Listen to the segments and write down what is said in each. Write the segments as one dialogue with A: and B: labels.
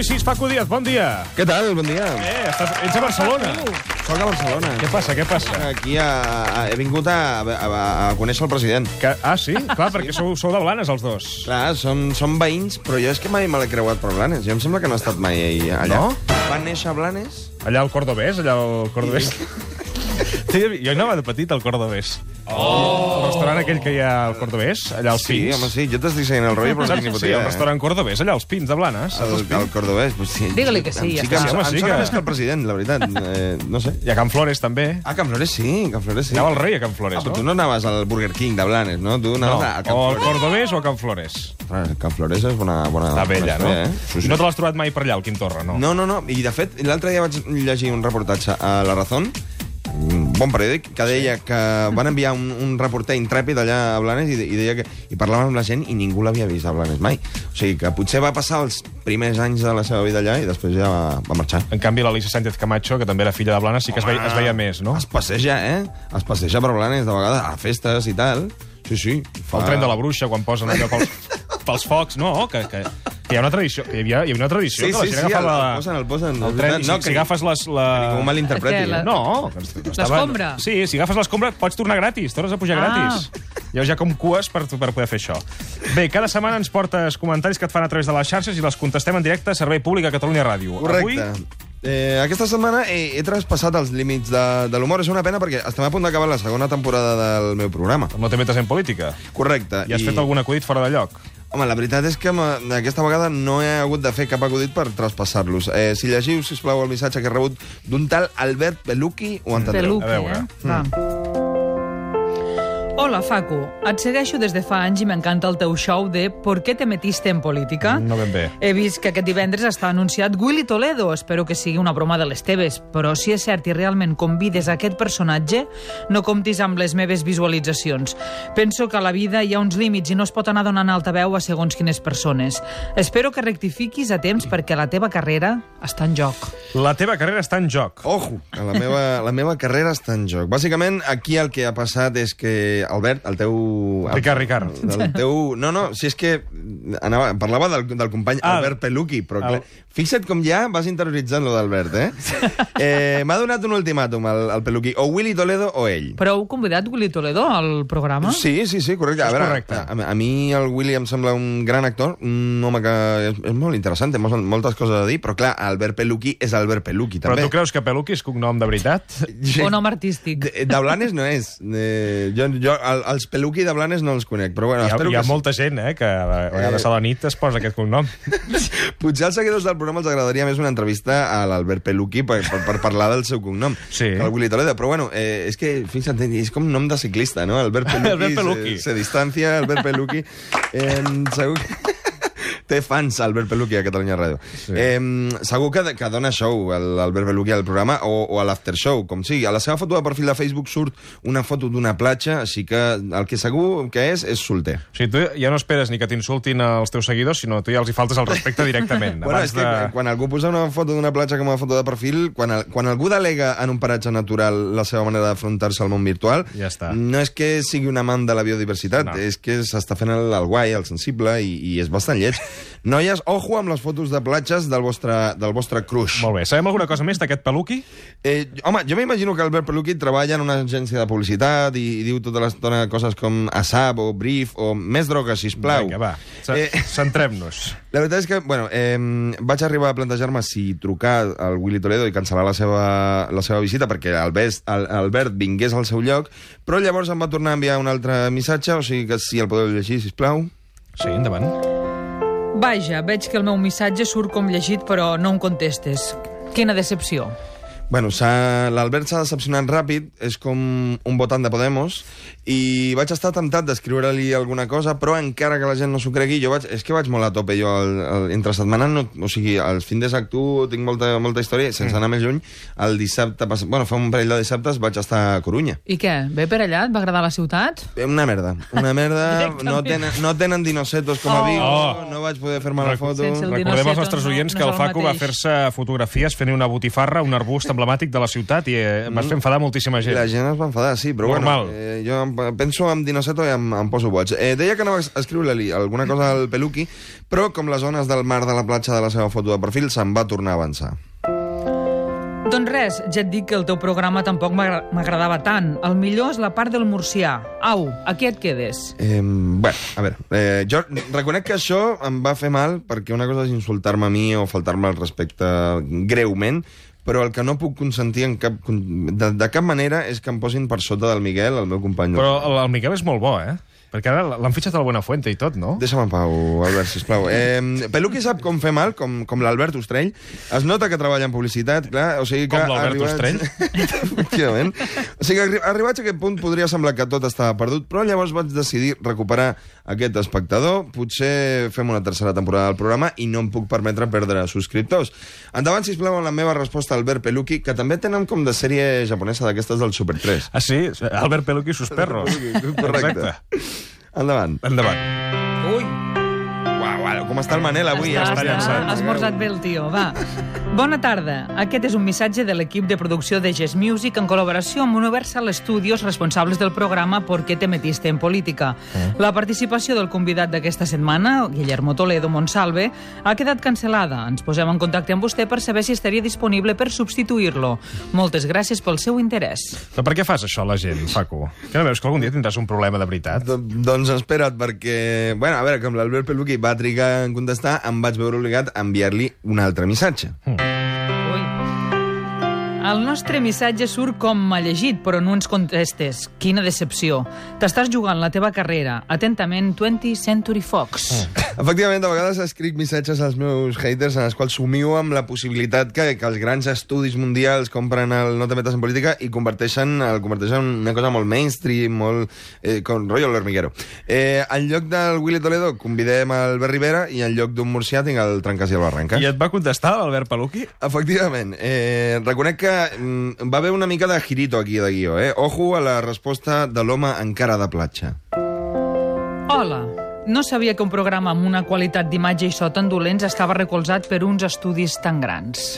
A: i 6, Paco Díaz, bon dia.
B: Què tal? Bon dia.
A: Eh, estàs, ets a Barcelona.
B: Soc de Barcelona.
A: Què passa, què passa?
B: Aquí a, a, he vingut a, a, a conèixer el president.
A: Que, ah, sí? Clar, perquè sou, sou de Blanes, els dos.
B: Clar, som, som veïns, però jo és que mai me l'he creuat per Blanes. Jo em sembla que no he estat mai allà.
A: No?
B: Va néixer a Blanes.
A: Allà al Cordobès, allà al Cordobès. Sí, jo anava de petit al Cordobès. Oh! El restaurant aquell que hi ha al Cordobès, allà als
B: Sí,
A: Pins.
B: home, sí, jo t'estic seguint el rotllo, però no
A: Saps?
B: tinc ni puta
A: Sí, el
B: idea.
A: restaurant Cordobès, allà als Pins de Blanes.
B: El, el cordobès, pues sí.
C: Digue-li que sí, ja
B: Sí que em,
A: està.
B: sí, home, sí que...
A: que-
B: més que el president, la veritat. Eh, no sé.
A: I a Can Flores, també.
B: Ah, Can Flores sí, Can Flores sí.
A: Anava el rei a Can Flores,
B: Ah, però tu
A: no?
B: no anaves al Burger King de Blanes, no? Tu
A: No,
B: anaves no. al Can
A: o al
B: Flores.
A: Cordobès o a Can Flores.
B: Ah, el Can Flores és bona... bona
A: Està vella, no?
B: bona història, Eh? Sí, sí.
A: No te l'has trobat mai per allà, el Quim Torra, no?
B: No, no, no. I, de fet, l'altre dia vaig llegir un reportatge a La Razón, un bon periòdic, que deia que van enviar un, un reporter intrèpid allà a Blanes i, de- i deia que i parlava amb la gent i ningú l'havia vist a Blanes mai. O sigui, que potser va passar els primers anys de la seva vida allà i després ja va, va marxar.
A: En canvi, l'Alisa Sánchez Camacho, que també era filla de Blanes, sí que es veia, es veia més, no?
B: Es passeja, eh? Es passeja per Blanes de vegades a festes i tal. Sí, sí.
A: Fa... El tren
B: Ah.
A: de la bruixa, quan posen allò pels, pels focs, no? Que, que, que hi ha una tradició, que hi havia, hi havia una tradició
B: Sí,
A: que la
B: sí,
A: gent
B: sí, el,
A: agafava...
B: el posen, el posen.
A: El tren, i si,
B: no,
A: no, si agafes les... La...
B: Ningú mal
C: És que la-
B: interpreti. eh?
A: No, que estava-
C: L'escombra.
A: Sí, si agafes l'escombra pots tornar gratis, tornes a pujar
C: Ah.
A: gratis. Llavors hi ha com cues per, per poder fer això. Bé, cada setmana ens portes comentaris que et fan a través de les xarxes i les contestem en directe a Servei Públic a Catalunya Ràdio.
B: Correcte.
A: Avui,
B: Eh, aquesta setmana he, he traspassat els límits de, de l'humor. És una pena perquè estem a punt d'acabar la segona temporada del meu programa.
A: no te metes en política.
B: Correcte.
A: I has fet algun acudit fora de lloc.
B: Home, la veritat és que m'ha- aquesta vegada no he hagut de fer cap acudit per traspassar-los. Eh, si llegiu, si plau el missatge que he rebut d'un tal Albert Peluqui, ho entendreu.
C: Peluque,
A: A veure.
C: eh? Va. Hola, Facu. Et segueixo des de fa anys i m'encanta el teu show de ¿Por qué te metiste en política?
A: No ben bé.
C: He vist que aquest divendres està anunciat Willy Toledo. Espero que sigui una broma de les teves, però si és cert i realment convides a aquest personatge, no comptis amb les meves visualitzacions. Penso que a la vida hi ha uns límits i no es pot anar donant altaveu a segons quines persones. Espero que rectifiquis a temps perquè la teva carrera està en joc.
A: La teva carrera està en joc.
B: Ojo, que la meva, la meva carrera està en joc. Bàsicament, aquí el que ha passat és que, Albert, el teu...
A: Ricard, Ricard.
B: El teu... No, no, si és que anava, parlava del, del company
A: Ah,
B: Albert Peluqui, però clar,
A: el-
B: fixa't com ja vas interioritzant lo d'Albert, eh? eh M'ha donat un ultimàtum al, al Peluqui, o Willy Toledo o ell.
C: Però heu convidat Willy Toledo al programa?
B: Sí, sí, sí, correcte. A,
A: Això és
B: veure,
A: correcte.
B: A, a mi el Willy em sembla un gran actor, un home que és, és molt interessant, té mol- moltes coses a dir, però clar, Albert Peluqui és Albert Peluqui,
A: Però
B: també.
A: tu creus que Peluqui és cognom de veritat?
C: O nom artístic?
B: De, de Blanes no és. Eh, jo, jo, el, els peluqui de Blanes no els conec, però bueno,
A: Hi ha,
B: espero
A: hi ha
B: que...
A: molta gent, eh, que a vegades a la nit es posa aquest cognom.
B: Potser als seguidors del programa els agradaria més una entrevista a l'Albert Peluqui per, per, per parlar del seu cognom,
A: Sí.
B: que el Willy Toledo. Però bueno, eh, és que, fixa't, és com nom de ciclista, no? Albert Peluqui,
A: Albert Peluqui.
B: Se, se distancia, Albert Peluqui. Eh, segur que... Té fans, Albert Peluqui, a Catalunya Ràdio.
A: Sí.
B: Sí. Eh, segur que, que dona show el- l'Albert Peluqui al programa o, o a l'after show, com sigui. A la seva foto de perfil de Facebook surt una foto d'una platja, així que el que segur que és, és solter.
A: O sigui, tu ja no esperes ni que t'insultin els teus seguidors, sinó tu ja els hi faltes el respecte directament.
B: Bueno, és
A: abans
B: que
A: de...
B: quan algú posa una foto d'una platja com a foto de perfil, quan, el, quan algú delega en un paratge natural la seva manera d'afrontar-se al món virtual,
A: Ja està.
B: no és que sigui un amant de la biodiversitat,
A: No.
B: no. és que s'està fent el, el guai, el sensible, i, i és bastant lleig. Noies, ojo amb les fotos de platges del vostre, del vostre crush.
A: Molt bé. Sabem alguna cosa més d'aquest peluqui?
B: Eh, home, jo m'imagino que Albert Peluqui treballa en una agència de publicitat i, i diu tota l'estona coses com ASAP o Brief o més droga, sisplau.
A: Vinga, va. Ce-
B: Eh,
A: Centrem-nos.
B: La veritat és que, bueno, eh, vaig arribar a plantejar-me si trucar al Willy Toledo i cancel·lar la seva, la seva visita perquè el Best, el, Albert vingués al seu lloc, però llavors em va tornar a enviar un altre missatge, o sigui que si el podeu llegir, sisplau.
A: Sí, endavant.
C: Vaja, veig que el meu missatge surt com llegit, però no em contestes. Quina decepció.
B: Bueno, s'ha- l'Albert s'ha decepcionat ràpid, és com un votant de Podemos, i vaig estar temptat d'escriure-li alguna cosa, però encara que la gent no s'ho cregui, jo vaig, és que vaig molt a tope, jo el, el, entre setmana, no, o sigui, els fins de actuo, tinc molta, molta història,
C: Mm.
B: sense anar més lluny, el dissabte, passat, bueno, fa un parell de dissabtes vaig estar a Corunya.
C: I què? Bé per allà? Et va agradar la ciutat?
B: Eh, Una merda, una merda, no
C: Directament.
B: tenen, no tenen dinosetos com a
C: Oh.
B: Vigo,
A: Oh.
B: no vaig poder fer-me la
A: Rec-
B: foto.
C: Sense el
A: Recordem als
C: dinoceto
A: nostres
C: no-
A: oients
C: no
A: que
C: és
A: el
C: el
A: Facu va
C: mateix.
A: fer-se fotografies fent una botifarra, un arbust amb emblemàtic de la ciutat i eh, vas fer enfadar moltíssima gent.
B: La gent es va enfadar, sí, però
A: Normal.
B: bueno, eh, jo em- penso en Dinoceto i em, em poso boig. Eh, deia que anava a escriure-li alguna cosa al Peluqui, però com les ones del mar de la platja de la seva foto de perfil, se'n va tornar a avançar.
C: Doncs res, ja et dic que el teu programa tampoc m'agra- m'agradava tant. El millor és la part del murcià. Au, aquí et quedes.
B: Eh, bueno, a veure, eh, jo reconec que això em va fer mal perquè una cosa és insultar-me a mi o faltar-me al respecte greument, però el que no puc consentir en cap, de, de cap manera és que em posin per sota del Miguel, el meu company.
A: Però el, el Miquel és molt bo, eh? Perquè ara l'han fitxat al Buenafuente i tot, no?
B: Deixa'm en pau, Albert, sisplau. Eh, Peluqui sap com fer mal, com, com l'Albert Ostrell. Es nota que treballa en publicitat, clar. O sigui que
A: Com l'Albert Ostrell?
B: Efectivament. O sigui que arri- arribats a aquest punt podria semblar que tot estava perdut, però llavors vaig decidir recuperar aquest espectador. Potser fem una tercera temporada del programa i no em puc permetre perdre subscriptors. Endavant, sisplau, amb la meva resposta, Albert Peluqui, que també tenen com de sèrie japonesa d'aquestes del Super 3.
A: Ah, sí? Albert Peluqui i sus perros.
B: Correcte. Endavant.
A: Endavant.
C: Ui,
B: Uau, uau, com està el Manel avui?
A: Està-
B: eh?
A: està- llançat.
C: Ha esmorzat bé el tio, va. Bona tarda. Aquest és un missatge de l'equip de producció de Jazz Music en col·laboració amb Universal Studios, responsables del programa Por qué te metiste en política.
B: Eh?
C: La participació del convidat d'aquesta setmana, Guillermo Toledo Monsalve, ha quedat cancel·lada. Ens posem en contacte amb vostè per saber si estaria disponible per substituir-lo. Moltes gràcies pel seu interès.
A: Però per què fas això a la gent, Facu? Que no veus que algun dia tindràs un problema de veritat?
B: Do- Doncs espera't, perquè... Bueno, a veure, com l'Albert Peluqui va trigar en contestar, em vaig veure obligat a enviar-li un altre missatge.
C: Ui. El nostre missatge surt com a llegit, però no ens contestes. Quina decepció. T'estàs jugant la teva carrera. Atentament, 20th Century Fox.
B: Mm. Efectivament, de vegades escric missatges als meus haters en els quals somio amb la possibilitat que, que els grans estudis mundials compren el No te metes en política i converteixen, el converteixen en una cosa molt mainstream, molt... Eh, com rotllo l'hormiguero. Eh, en lloc del Willy Toledo convidem el Albert Rivera i en lloc d'un murcià tinc el Trancas i el Barranca.
A: I et va contestar l'Albert Peluqui?
B: Efectivament. Eh, reconec que mm, va haver una mica de girito aquí de guió, eh? Ojo a la resposta de l'home en cara de platja.
C: Hola. No sabia que un programa amb una qualitat d'imatge i so tan dolents estava recolzat per uns estudis tan grans.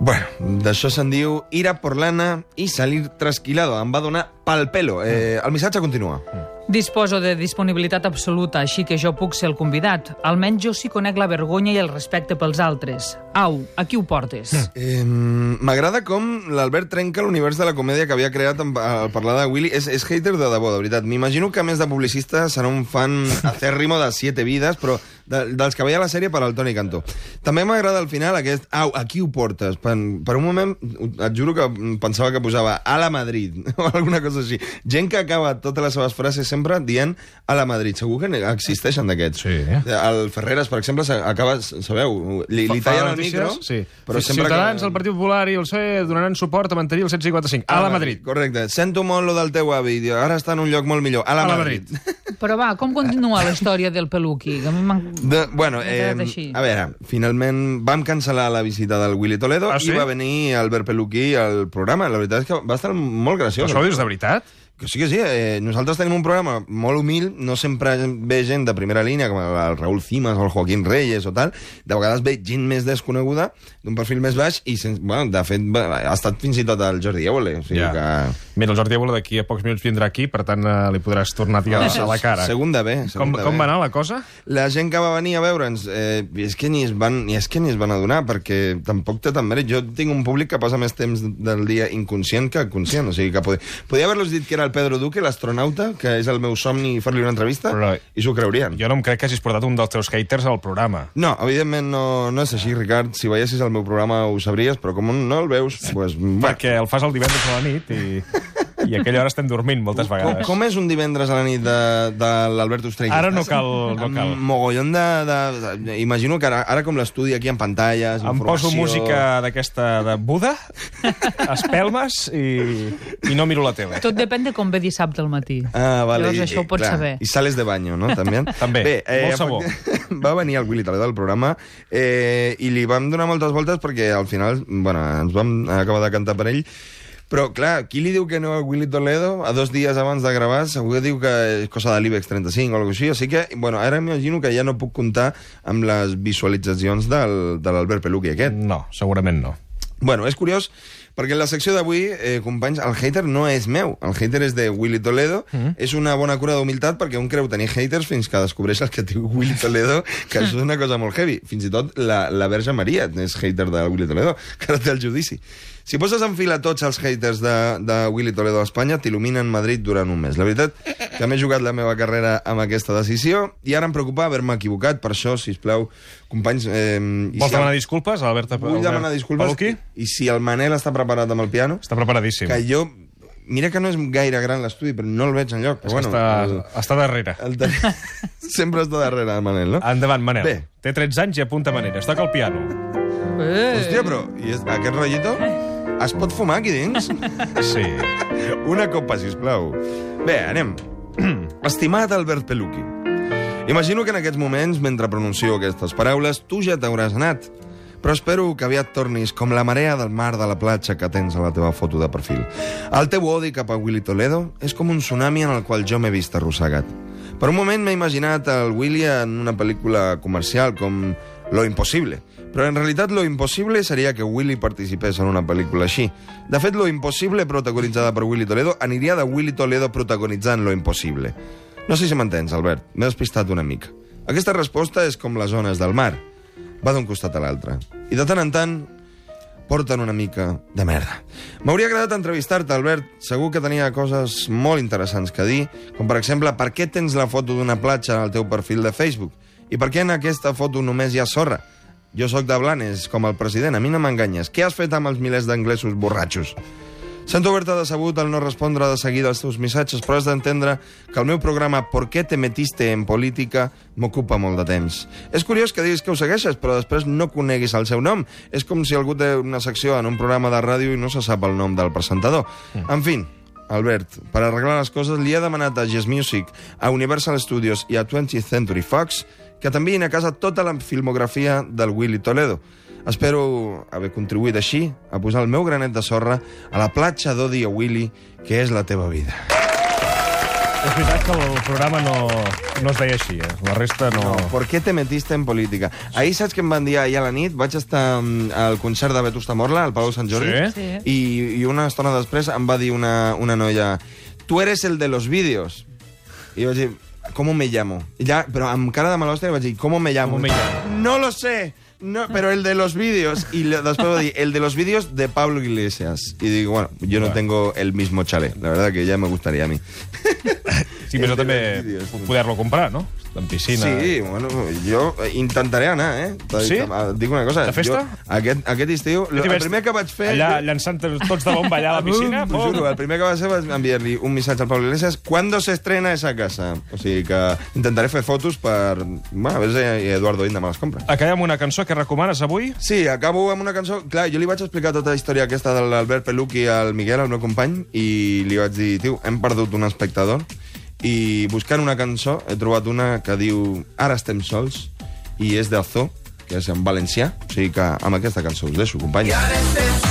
B: Bueno, d'això se'n diu ira por lana i salir trasquilado. Em va donar pal pelo. Eh, el missatge continua.
C: Disposo de disponibilitat absoluta, així que jo puc ser el convidat. Almenys jo sí conec la vergonya i el respecte pels altres. Au, aquí ho portes.
B: Eh, M'agrada com l'Albert trenca l'univers de la comèdia que havia creat amb- eh, al parlar de Willy. És, és hater de debò, de veritat. M'imagino que, a més de publicista, serà un fan acérrimo de Siete Vides, però de, dels que veia la sèrie per al Toni Cantó. També m'agrada al final aquest... Au, aquí ho portes. Per, per un moment, et juro que pensava que posava a la Madrid o alguna cosa així. Gent que acaba totes les seves frases sempre dient a la Madrid. Segur que n'hi- existeixen d'aquests.
A: Sí.
B: El Ferreres, per exemple, s'ha- acaba, sabeu, li, li
A: Fa- fa
B: tallen el
A: notícies?
B: micro...
A: Sí. Però Ciutadans, el Partit Popular i el PSOE E donaran suport a mantenir el 155. A la Madrid.
B: Ah, Correcte. Sento molt lo del teu avi. Diu, Ara està en un lloc molt millor. A la,
A: A la
B: Madrid.
A: Madrid.
C: Però va, com continua la història del peluqui? Que a mi m'en-
B: De, bueno,
C: M'he
B: eh,
C: quedat així.
B: a veure, finalment vam cancel·lar la visita del Willy Toledo
A: Ah, sí?
B: i va venir Albert Peluquí al programa. La veritat és que va estar molt
A: Però
B: graciós.
A: això ho dius de veritat?
B: Que sí que sí, eh, nosaltres tenim un programa molt humil, no sempre ve gent de primera línia, com el Raül Cimas o el Joaquín Reyes o tal, de vegades ve gent més desconeguda, d'un perfil més baix, i sen... bueno, de fet va- ha estat fins i tot el Jordi Évole, o sigui
A: Ja.
B: yeah. que...
A: Mira, el Jordi Abola d'aquí a pocs minuts vindrà aquí, per tant eh, li podràs tornar a tirar a la cara.
B: Segunda B.
A: Com,
B: Segunda
A: com
B: B.
A: va anar la cosa?
B: La gent que va venir a veure'ns, eh, és que ni es, van, ni és que ni es van adonar, perquè tampoc té tant mèrit. Jo tinc un públic que passa més temps del dia inconscient que conscient, o sigui que podia, podia haver-los dit que era el Pedro Duque, l'astronauta, que és el meu somni fer-li una entrevista,
A: Però-
B: i s'ho creurien.
A: Jo no em crec que hagis portat un dels teus haters al programa.
B: No, evidentment no, no és així, Ricard. Si veiessis el meu programa ho sabries, però com no el veus, doncs... Bueno.
A: Perquè el fas el divendres a la nit i, i a aquella hora estem dormint moltes
B: Com,
A: vegades.
B: com és un divendres a la nit de, de l'Albert Ostrell?
A: Ara no cal, no cal.
B: Amb mogollon de, de, de... Imagino que ara, ara com l'estudi aquí en pantalles,
A: Em poso
B: informació...
A: música d'aquesta de Buda, espelmes i, i no miro la tele.
C: Tot depèn de com ve dissabte al matí.
B: Ah, vale.
C: Llavors això ho pots
B: clar,
C: saber.
B: I sales de baño, no? També.
A: També, molt sabó.
B: efecti- Va venir el Willy Toledo al programa eh, i li vam donar moltes voltes perquè al final, bueno, ens vam acabar de cantar per ell, però, clar, qui li diu que no a Willy Toledo a dos dies abans de gravar segur que diu que és cosa de l'IBEX 35 o alguna cosa així, així que, bueno, ara m'imagino que ja no puc comptar amb les visualitzacions del, de l'Albert Peluqui aquest.
A: No, segurament no.
B: Bueno, és curiós, perquè en la secció d'avui, eh, companys, el hater no és meu. El hater és de Willy Toledo.
A: Mm-hmm.
B: Mm. És una bona cura d'humilitat perquè un creu tenir haters fins que descobreix el que té Willy Toledo, que això és una cosa molt heavy. Fins i tot la, la Verge Maria és hater de Willy Toledo, que ara té el judici. Si poses en fila tots els haters de, de Willy Toledo a Espanya, t'il·luminen Madrid durant un mes. La veritat que m'he jugat la meva carrera amb aquesta decisió i ara em preocupa haver-me equivocat. Per això, si plau, companys... Eh, i
A: Vols
B: si-
A: demanar disculpes, Albert?
B: Vull demanar disculpes.
A: Peluqui?
B: I si el Manel està preparat amb el piano,
A: Està preparadíssim.
B: que jo... Mira que no és gaire gran l'estudi, però no el veig enlloc.
A: És
B: Però
A: que
B: bueno, eh,
A: està, està darrere.
B: El, el ten... Sempre està darrere el Manel, no?
A: Endavant, Manel.
B: Bé.
A: Té 13 anys i apunta maneres. Toca el piano.
C: Eh,
B: Hòstia, però i és, aquest rotllito es pot fumar aquí dins?
A: Sí.
B: Una copa, si plau. Bé, anem. Estimat Albert Peluqui, imagino que en aquests moments, mentre pronuncio aquestes paraules, tu ja t'hauràs anat. Però espero que aviat tornis com la marea del mar de la platja que tens a la teva foto de perfil. El teu odi cap a Willy Toledo és com un tsunami en el qual jo m'he vist arrossegat. Per un moment m'he imaginat el Willy en una pel·lícula comercial com Lo impossible. Però en realitat lo impossible seria que Willy participés en una pel·lícula així. De fet, lo impossible protagonitzada per Willy Toledo aniria de Willy Toledo protagonitzant lo impossible. No sé si m'entens, Albert. M'he despistat una mica. Aquesta resposta és com les ones del mar. Va d'un costat a l'altre. I de tant en tant porten una mica de merda. M'hauria agradat entrevistar-te, Albert. Segur que tenia coses molt interessants que dir, com per exemple, per què tens la foto d'una platja al teu perfil de Facebook? I per què en aquesta foto només hi ha sorra? Jo sóc de Blanes, com el president, a mi no m'enganyes. Què has fet amb els milers d'anglesos borratxos? Sento haver-te decebut al no respondre de seguida als teus missatges, però has d'entendre que el meu programa Por qué te metiste en política m'ocupa molt de temps. És curiós que diguis que ho segueixes, però després no coneguis el seu nom. És com si algú té una secció en un programa de ràdio i no se sap el nom del presentador. En fi, Albert, per arreglar les coses li he demanat a Yes Music, a Universal Studios i a 20th Century Fox que t'enviïn a casa tota la filmografia del Willy Toledo. Espero haver contribuït així a posar el meu granet de sorra a la platja d'odi a Willy, que és la teva vida.
A: És veritat que el programa no, no es deia així, eh? La resta no...
B: No, ¿Por qué te metiste en política? Ahir saps que em van dir ahir a la nit? Vaig estar mm, al concert de Vetusta Morla, al Palau Sant Jordi,
A: Sí?
C: Sí.
B: i, i una estona després em va dir una, una noia tu eres el de los vídeos. I vaig dir, ¿cómo me llamo? I ja, però amb cara de malòstia vaig dir, ¿cómo me llamo?
A: ¿Cómo me llamo?
B: No lo sé, no, pero el de los vídeos. I le- després va dir, el de los vídeos de Pablo Iglesias. I dic, bueno, yo no tengo el mismo chale. La verdad que ya me gustaría a mí.
A: Sí, però també
B: Vídeos.
A: poder-lo comprar, no? Amb piscina.
B: Sí, bueno, jo intentaré anar, eh? T'ho
A: Sí?
B: dic, eh, Dic una cosa.
A: De festa?
B: Jo, aquest, aquest estiu,
A: Jo
B: el
A: t'hi vaig-
B: primer que vaig fer...
A: Allà, llançant tots de bomba allà a la piscina.
B: T'ho juro, eh? el primer que vaig fer va ser enviar-li un missatge al Pablo Iglesias ¿Cuándo se estrena esa casa? O sigui que intentaré fer fotos per... Bueno, a veure si Eduardo Inda me les compra.
A: Acabem amb una cançó que recomanes avui.
B: Sí, acabo amb una cançó... Clar, jo li vaig explicar tota la història aquesta de l'Albert Peluqui al Miguel, al meu company, i li vaig dir, tio, hem perdut un espectador, i buscant una cançó he trobat una que diu Ara estem sols, i és del Zoo, que és en valencià, o sigui que amb aquesta cançó us deixo, companys.
D: Ara estem